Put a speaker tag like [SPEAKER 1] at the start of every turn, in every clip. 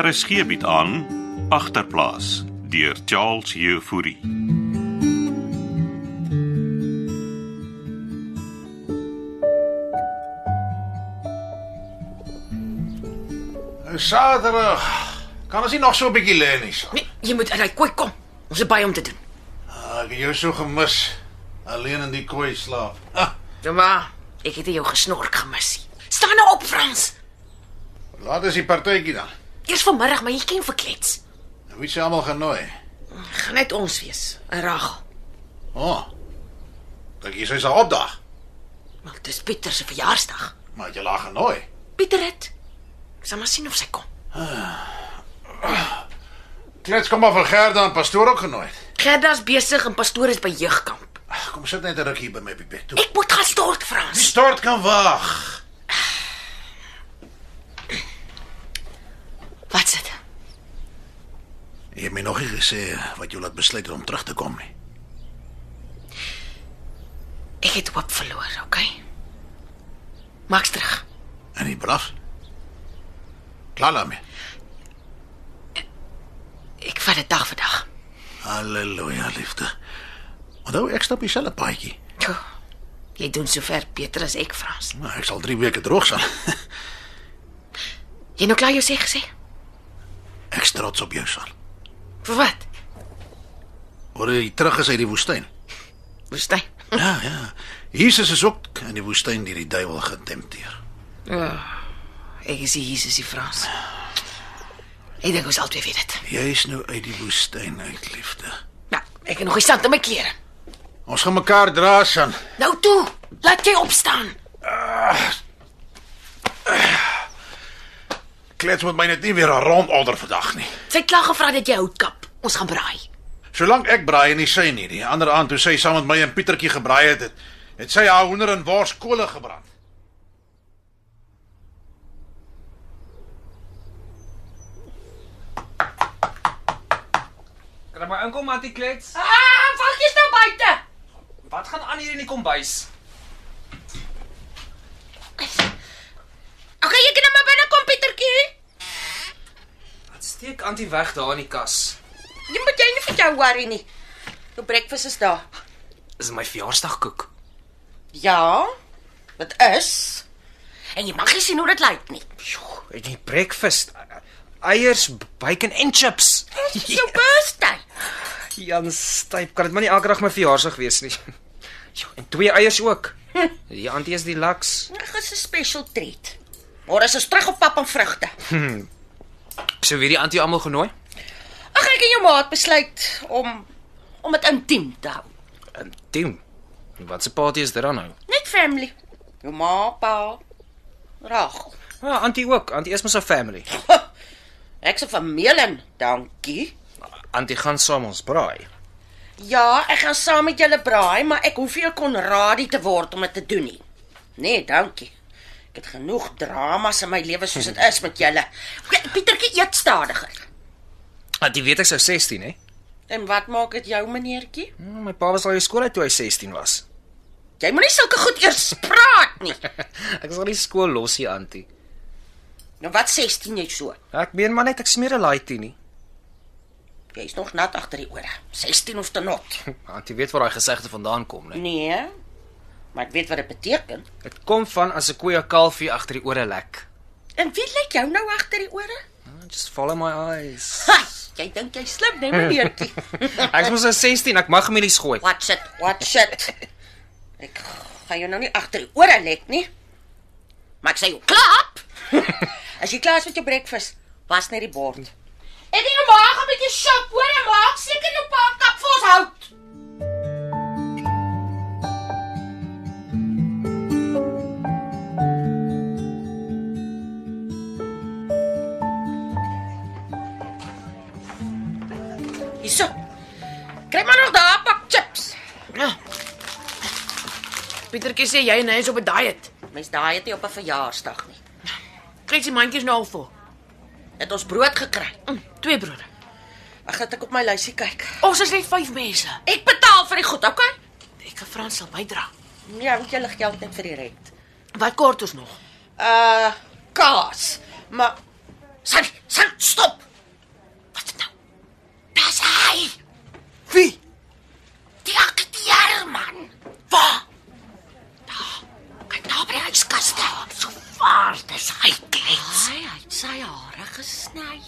[SPEAKER 1] RSG bied aan agterplaas deur Charles Jefouri.
[SPEAKER 2] Saterdag. Kan ons nie nog so 'n bietjie lê nie? son?
[SPEAKER 3] Nee, jy moet ry, koei kom. Ons het baie om te doen.
[SPEAKER 2] Ah, Ek het jou so gemis. Alleen in die kooi slaap. Ah,
[SPEAKER 3] Ja maar, ek het jou gesnork gemis. Staan nou op, Frans.
[SPEAKER 2] laat ons die partytjie dan.
[SPEAKER 3] Eers vanmiddag, maar jy ken verklets.
[SPEAKER 2] Wie se almal genooi?
[SPEAKER 3] Gaan net ons wees. eh, En Ragel,
[SPEAKER 2] O. Oh, Dink jy sy sal opdag?
[SPEAKER 3] maar dit is Pieter se verjaarsdag.
[SPEAKER 2] Maar het jy laat genooi.
[SPEAKER 3] Pieter het. Ek sal maar sien of sy kom.
[SPEAKER 2] Klets kom maar vir Gerda en pastoor ook genooi.
[SPEAKER 3] Gerda's besig en pastoor is by jeugkamp.
[SPEAKER 2] Ag, kom sit net 'n rukkie by my bed toe.
[SPEAKER 3] Ek moet gaan stort, Frans.
[SPEAKER 2] Stort kan wag.
[SPEAKER 3] Wat sit?
[SPEAKER 2] Jy het my nog nie gesê wat jy laat besluit het om terug te kom nie.
[SPEAKER 3] Ek het hoop verloor, okay? Maak's terug.
[SPEAKER 2] En die blaf. Klaar daarmee.
[SPEAKER 3] Ek vat dit dag vir dag.
[SPEAKER 2] Halleluja, liefde. Onthou ek stap dieselfde paadjie.
[SPEAKER 3] Toe. Jy doen sover beter as ek, Frans.
[SPEAKER 2] Nou, ek sal 3 weke droog sal.
[SPEAKER 3] Jy nou klaar jou sê gesê?
[SPEAKER 2] Ek is trots op jou, Sal.
[SPEAKER 3] Vir wat?
[SPEAKER 2] Oor jy terug is uit die woestyn.
[SPEAKER 3] Woestyn.
[SPEAKER 2] Ja, ja. Jesus is ook in die woestyn deur die duiwel getempteer.
[SPEAKER 3] Ek is die Jesus die Frans. Ek dink ons albei weet dit.
[SPEAKER 2] Jy's nou uit die woestyn uit, liefde.
[SPEAKER 3] Nou, ek het nog die sand in my klere.
[SPEAKER 2] Ons gaan mekaar dra, San.
[SPEAKER 3] Nou toe, laat jy opstaan.
[SPEAKER 2] Klets moet my net nie weer 'n rondorder vandag nie.
[SPEAKER 3] Sy het klaar gevra dat jy hout kap. Ons gaan braai.
[SPEAKER 2] Solank ek braai en nie sy nie, die ander aand toe sy saam met my en Pietertjie gebraai het, het, het sy haar hoender en wors kole gebrand.
[SPEAKER 4] Kan maar inkom aan die klets.
[SPEAKER 5] Ah, wag jy's nou buite.
[SPEAKER 4] Wat gaan aan hier in die kombuis?
[SPEAKER 5] Okay, jy kan nou maar binne kom Pietertjie.
[SPEAKER 4] Wat steek aan die weg daar in die kas?
[SPEAKER 5] Jy moet jy nie vir jou worry nie. Jou breakfast is daar.
[SPEAKER 4] Is dit my verjaarsdagkoek?
[SPEAKER 5] Ja. Dit is.
[SPEAKER 3] En jy mag nie sien hoe dit lyk nie.
[SPEAKER 4] Jo, en die breakfast eiers, bacon en chips.
[SPEAKER 5] Dis jou birthday.
[SPEAKER 4] Jan styp, kan dit maar nie elke dag my verjaarsdag wees nie. Jo, en twee eiers ook. Die antie is die laks.
[SPEAKER 5] Dit is 'n special treat. Môre is ons terug op pap en vrugte.
[SPEAKER 4] So weer die antie almal genooi?
[SPEAKER 5] Ag ek en jou maat besluit om om dit intiem te hou.
[SPEAKER 4] Intiem. Wat 'n party is dit dan nou?
[SPEAKER 5] Net family. Jou ma, pa, Rachel.
[SPEAKER 4] Ja, antie ook. Antie is mos 'n family.
[SPEAKER 5] Ek se van Melin, dankie.
[SPEAKER 4] Antie gaan saam ons braai.
[SPEAKER 5] Ja, ek gaan saam met julle braai, maar ek hoef nie 'n konradie te word om dit te doen nie. Nee, dankie. Ek het genoeg dramas in my lewe soos dit is met julle. P- Pietertjie eet stadiger.
[SPEAKER 4] Antie weet ek sou 16, hè?
[SPEAKER 5] En wat maak dit jou, meneertjie?
[SPEAKER 4] Hm, My pa was al by skool uit toe hy 16 was.
[SPEAKER 5] Jy moenie sulke goed eers praat nie.
[SPEAKER 4] Ek sal die skool los hier antie.
[SPEAKER 5] Nou wat 16 jy so?
[SPEAKER 4] Ek meen maar net ek smeer 'n laaitie nie.
[SPEAKER 5] Jy's nog nat agter die ore. 16 of te not.
[SPEAKER 4] Antie weet waar daai gesegde vandaan kom, né?
[SPEAKER 5] Nee. Maar ek weet wat dit beteken.
[SPEAKER 4] Dit kom van as 'n koei 'n kalfie agter die ore lek.
[SPEAKER 5] En wie lyk jou nou agter die ore?
[SPEAKER 4] Just follow my eyes.
[SPEAKER 5] Ha, jy dink jy slim, nee meneertjie.
[SPEAKER 4] Ek was 16, ek mag gemelies gooi.
[SPEAKER 5] Watch it, watch it. Ek gaan jou nou nie agter die ore lek nie. Maar ek sê jou klap. As jy klaar is met jou breakfast, was net die bord. Ek en jou ma gaan 'n bietjie shop, hoor en maak seker jou pa kap vir ons hout. Hierso. Kry maar nog daai pak chips.
[SPEAKER 3] Ja. Pietertjie sê jy en hy is op 'n diet.
[SPEAKER 5] Mens daai het nie op 'n verjaarsdag nie.
[SPEAKER 3] Kry sy mandjies nou al vol.
[SPEAKER 5] Het ons brood gekry.
[SPEAKER 3] Mm, twee brode.
[SPEAKER 5] Ek gaan ek op my lysie kyk.
[SPEAKER 3] Ons is net 5 mense.
[SPEAKER 5] Ek betaal vir die goed, okay?
[SPEAKER 3] Ek en Frans sal bydra.
[SPEAKER 5] Ja, want jy lig geld net vir die rent.
[SPEAKER 3] Wat kort ons nog?
[SPEAKER 5] Uh, kaas. Maar Sal, sal, stop. Wat is dit nou? Dis hy.
[SPEAKER 6] Wie?
[SPEAKER 5] Die akteur man. Waar? Daar. Kyk daar by die huiskaste. So vaar dis hy klets. Hy het sy hare gesny.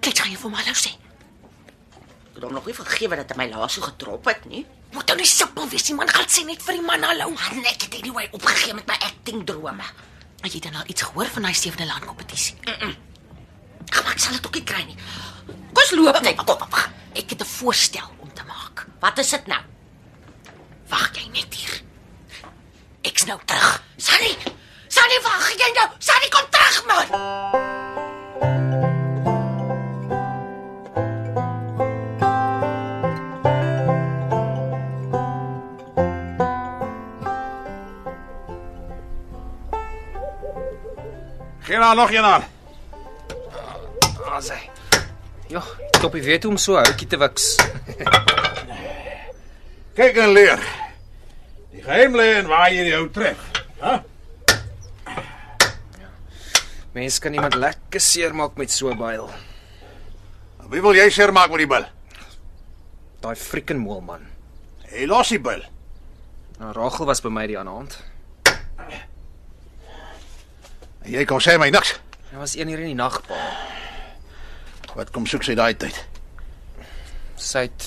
[SPEAKER 5] Klets gaan jy vir my nou sê. Ek het hom nog nie vergewe dat hy my laas so getrop het nie. Moet nou nie simpel wees nie man, gaan sê net vir die man hallo. Maar nee, ek het anyway opgegee met my acting drome. Het jy dan al iets gehoor van daai sewende land kompetisie? Ag, maar ek sal dit ook nie kry nie. Kom ons loop net. Nee, Kom, kom, wag. Ek het 'n voorstel om te maak. Wat is dit nou? Wag jy net hier. Ek's nou terug. Sunny, Sunny, wag jy nou. Sunny kom terug man.
[SPEAKER 2] Geen daar nog een aan.
[SPEAKER 4] Daar's hy. Ja, toppie weet hoe om so 'n houtjie te wiks.
[SPEAKER 2] Kyk en leer. Die geheim lê in waar jy jou tref. Hæ?
[SPEAKER 4] Mense kan iemand lekker seermaak met so 'n byl.
[SPEAKER 2] Wie wil jy seermaak met die bil?
[SPEAKER 4] Daai freaking moel man.
[SPEAKER 2] Hy los die bil.
[SPEAKER 4] Nou Rachel was by my die ander aand.
[SPEAKER 2] En Jy kom sê my niks.
[SPEAKER 4] Dit was 1 uur in die nag, pa.
[SPEAKER 2] Wat kom soek sy daai tyd?
[SPEAKER 4] Sy het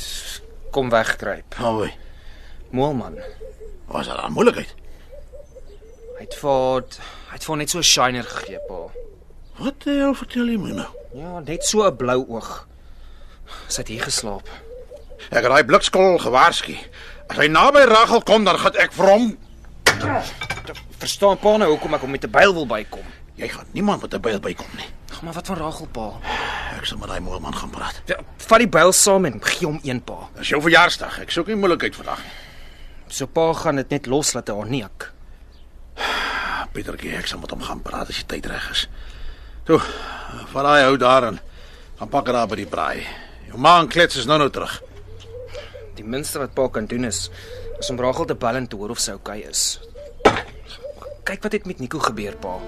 [SPEAKER 4] kom wegkruip.
[SPEAKER 2] Hoekom?
[SPEAKER 4] Moel man.
[SPEAKER 2] Was daar 'n moeilikheid?
[SPEAKER 4] Hy het vir haar- hy het vir haar net so 'n shiner gegee, pa.
[SPEAKER 2] Wat die hel vertel jy my nou?
[SPEAKER 4] Ja, net so 'n blou oog. Sy het hier geslaap.
[SPEAKER 2] Ek het daai blikskol gewaarsku. As hy naby Ragel kom, dan gaan ek vir hom.
[SPEAKER 4] Verstaan pa nou hoekom ek hom met 'n byl wil bykom?
[SPEAKER 2] Jy gaan niemand met 'n byl bykom nie.
[SPEAKER 4] Ag, maar wat van Rachel pa?
[SPEAKER 2] Ek sal met daai moelman gaan praat.
[SPEAKER 4] Ja, vat die byl saam en gee hom een pa.
[SPEAKER 2] Dis jou verjaarsdag. Ek soek nie moeilikheid vandag nie.
[SPEAKER 4] So pa gaan dit net los laat hy haar neek.
[SPEAKER 2] Ah, Pietertjie, ek sal met hom gaan praat as die tyd reg is. Toe, vat daai hou daarin. Gaan pak dit daar by die braai. Jou ma en klets is nou nou terug.
[SPEAKER 4] Die minste wat pa kan doen is is om Rachel te bel en te hoor of sy oukei okay is. Kyk wat het met Nico gebeur pa.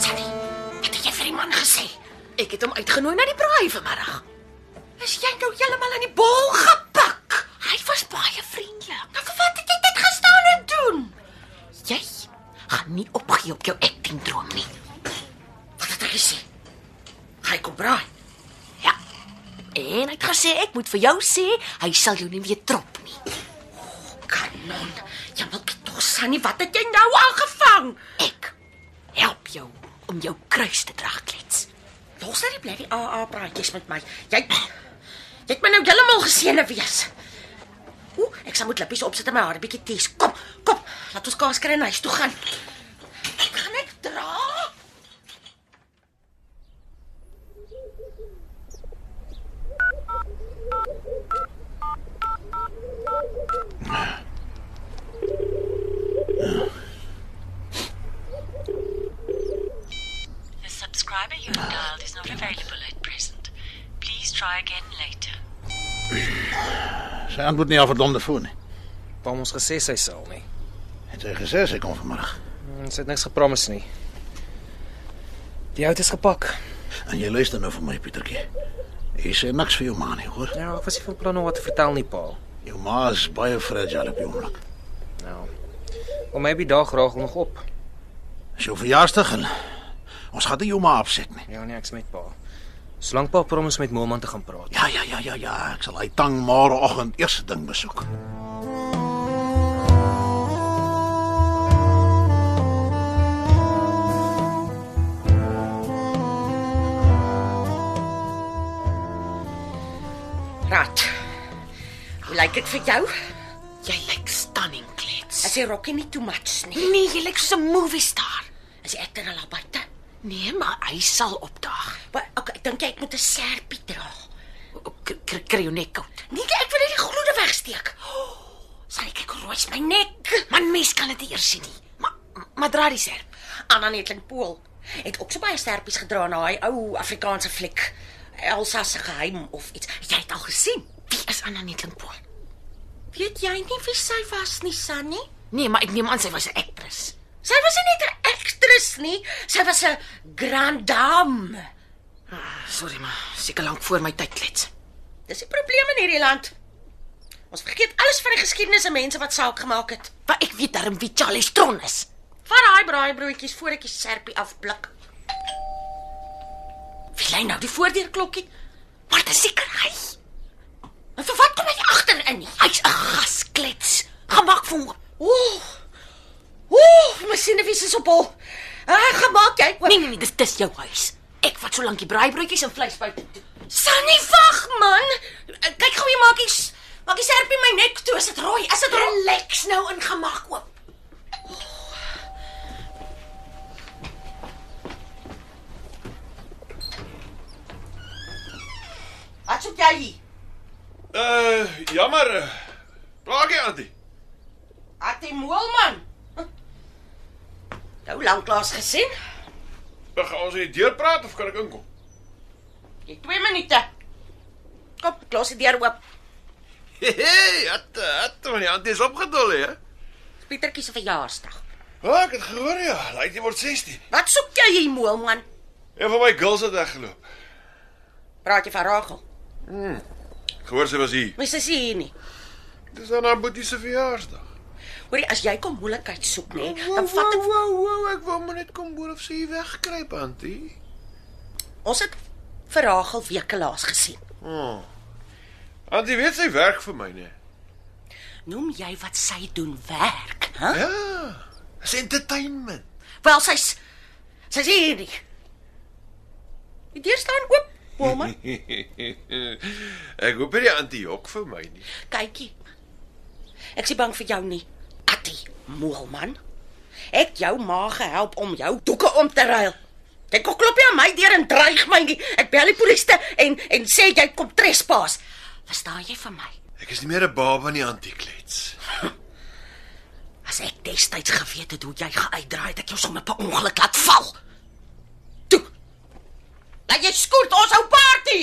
[SPEAKER 5] Sunny, wat het jy vir die man gesê? Ek het hom uitgenooi na die braai vanmiddag. Is jy nou heeltemal aan die bol gepak? Hy was baie vriendelik. Nou vir wat het jy dit gestaan en doen? Jy gaan nie opgee op jou acting droom nie. Wat het hy gesê? Hy kom braai. Ja. En hy het gesê ek moet vir jou sê, hy sal jou nie weer trop nie. Kanon. Ja, maar Kitosa, nie wat het jy nou aangevang? Ek help jou om jou kruis te dra, klets. Los uit die blerrie AA praatjies met my. Jy jy het my nou heeltemal geseëne wees. Ooh, ek sal moet lippies opsit en my hare bietjie tees. Kom, kom, laat ons kaas kry en huis toe gaan. Ek gaan ek dra.
[SPEAKER 7] The subscriber you have dialed is not available at present. Please try again later.
[SPEAKER 2] Sy antwoord nie haar verdomde foon nie.
[SPEAKER 4] Pa het ons gesê sy sal nie.
[SPEAKER 2] Het sy gesê sy kom vanmiddag.
[SPEAKER 4] En Sy het niks gepromis nie. Die hout is gepak.
[SPEAKER 2] En jy luister nou vir my, Pietertjie. Jy sê niks vir jou ma nie, hoor?
[SPEAKER 4] Ja, ek was nie van plan om wat te vertel nie pa.
[SPEAKER 2] Jou ma is baie fragile op die oomblik.
[SPEAKER 4] Nou. Of maybe daag Rachel nog op.
[SPEAKER 2] Dis jou verjaarsdag en ons gaan dit jou ma opset nie.
[SPEAKER 4] Ja nee, ek's met pa. Solank pa promis met Moelman te gaan praat.
[SPEAKER 2] Ja ja ja ja ja, ek sal hy tang môreoggend eers ding besoek.
[SPEAKER 5] Raad. Hoe lyk ek vir jou?
[SPEAKER 3] Jy lyk stunning, klets.
[SPEAKER 5] As jy rokkie nie too much nie.
[SPEAKER 3] Nee, jy lyk soos 'n movie star.
[SPEAKER 5] As jy ekter al daar buite.
[SPEAKER 3] Nee, maar hy sal opdaag.
[SPEAKER 5] Maar okay, dink jy ek moet 'n serpie dra?
[SPEAKER 3] K- k- Kry jou nek koud.
[SPEAKER 5] Nee, ek wil net die gloede wegsteek. Sal ek kyk hoe rooi is my nek?
[SPEAKER 3] Man, mens kan dit nie eers sien nie. Maar maar dra die serp.
[SPEAKER 5] Anna Netling Pool het ook so baie sterpies gedra na daai ou Afrikaanse fliek. Elsa se geheim of iets. Jy het al gesien.
[SPEAKER 3] Wie is Anna Netlinkpool?
[SPEAKER 5] Weet jy nie wie sy was nie, Sunny?
[SPEAKER 3] Nee, maar ek neem aan sy was 'n actress.
[SPEAKER 5] Sy was nie net 'n actress nie, sy was 'n grand dame.
[SPEAKER 3] Sorry maar, seker lank voor my tyd klets.
[SPEAKER 5] Dis die probleem in hierdie land. Ons vergeet alles van die geskiedenis en mense wat saak gemaak het.
[SPEAKER 3] Maar ek weet darm wie Charlie Stron is.
[SPEAKER 5] Van daai braaibroodjies voor ek die serpie afblik.
[SPEAKER 3] Wie lei nou die f-
[SPEAKER 5] Voordeurklokkie.
[SPEAKER 3] maar dis seker hy.
[SPEAKER 5] En vir wat kom hy agterin nie?
[SPEAKER 3] Hy's 'n gasklets. Gemaak vir hom.
[SPEAKER 5] Ooh. Ooh, my sinnewies is op hol. Ah, gemaak jy oop.
[SPEAKER 3] Nee nee nee, dis dis jou huis. Ek vat so lank die braaibroodjies en vleis buite toe.
[SPEAKER 5] Sunny, wag man. Kyk gou jy maak die s- maak die serpie my nek toe, is dit rooi? Is dit rooi?
[SPEAKER 3] Relax nou en gemaak oop.
[SPEAKER 5] Wat soek jy hier?
[SPEAKER 6] Uh, jammer. Plaagie Antie.
[SPEAKER 5] Hattie Moelman. Nou lanklaas gesien.
[SPEAKER 6] Ag, ons het deur praat of kan ek inkom?
[SPEAKER 5] Jy 2 minute. Kom, los die deur oop.
[SPEAKER 6] Hey, hat hat van die Antie is opgedol hè.
[SPEAKER 5] Pietertjie se verjaarsdag.
[SPEAKER 6] Ah, ek het gehoor ja, Laitie word 16.
[SPEAKER 5] Wat soek jy hier, Moelman?
[SPEAKER 6] Een van my girls het weggeloop.
[SPEAKER 5] Praat jy van Rachel?
[SPEAKER 6] Ek Gehoor sy was hier.
[SPEAKER 5] My sussie hier nie.
[SPEAKER 6] Dis aan haar boetie se verjaarsdag.
[SPEAKER 5] Hoorie, as jy kom moeilikheid soek, nê, dan vat ek
[SPEAKER 6] wow, wow, ek wou maar net kom boer of sy hier wegkruip Antie.
[SPEAKER 5] ons het vir Rachel weke laas gesien.
[SPEAKER 6] Antie weet sy werk vir my nee.
[SPEAKER 5] Noem jy wat sy doen werk, hè?
[SPEAKER 6] Ja. Dis entertainment.
[SPEAKER 5] Wel, sy's sy's hier nie. Die deur staan oop, Moelman.
[SPEAKER 6] ek hoop nie die Antie jok vir my nie.
[SPEAKER 5] Kykie. Ek is bang vir jou nie. Attie, moelman. Ek jou ma gehelp om jou doeke om te ruil. Jy kom klop jy aan my deur en dreig my nie. Ek bel die polisie en en sê jy kom trespas. Verstaan jy vir my?
[SPEAKER 6] Ek is nie meer 'n baba nie, Antie klets.
[SPEAKER 5] As ek destyds geweet het hoe jy geuitdraai het, ek jou sommer per ongeluk laat val. Toe. Laat jy skoot ons ou party.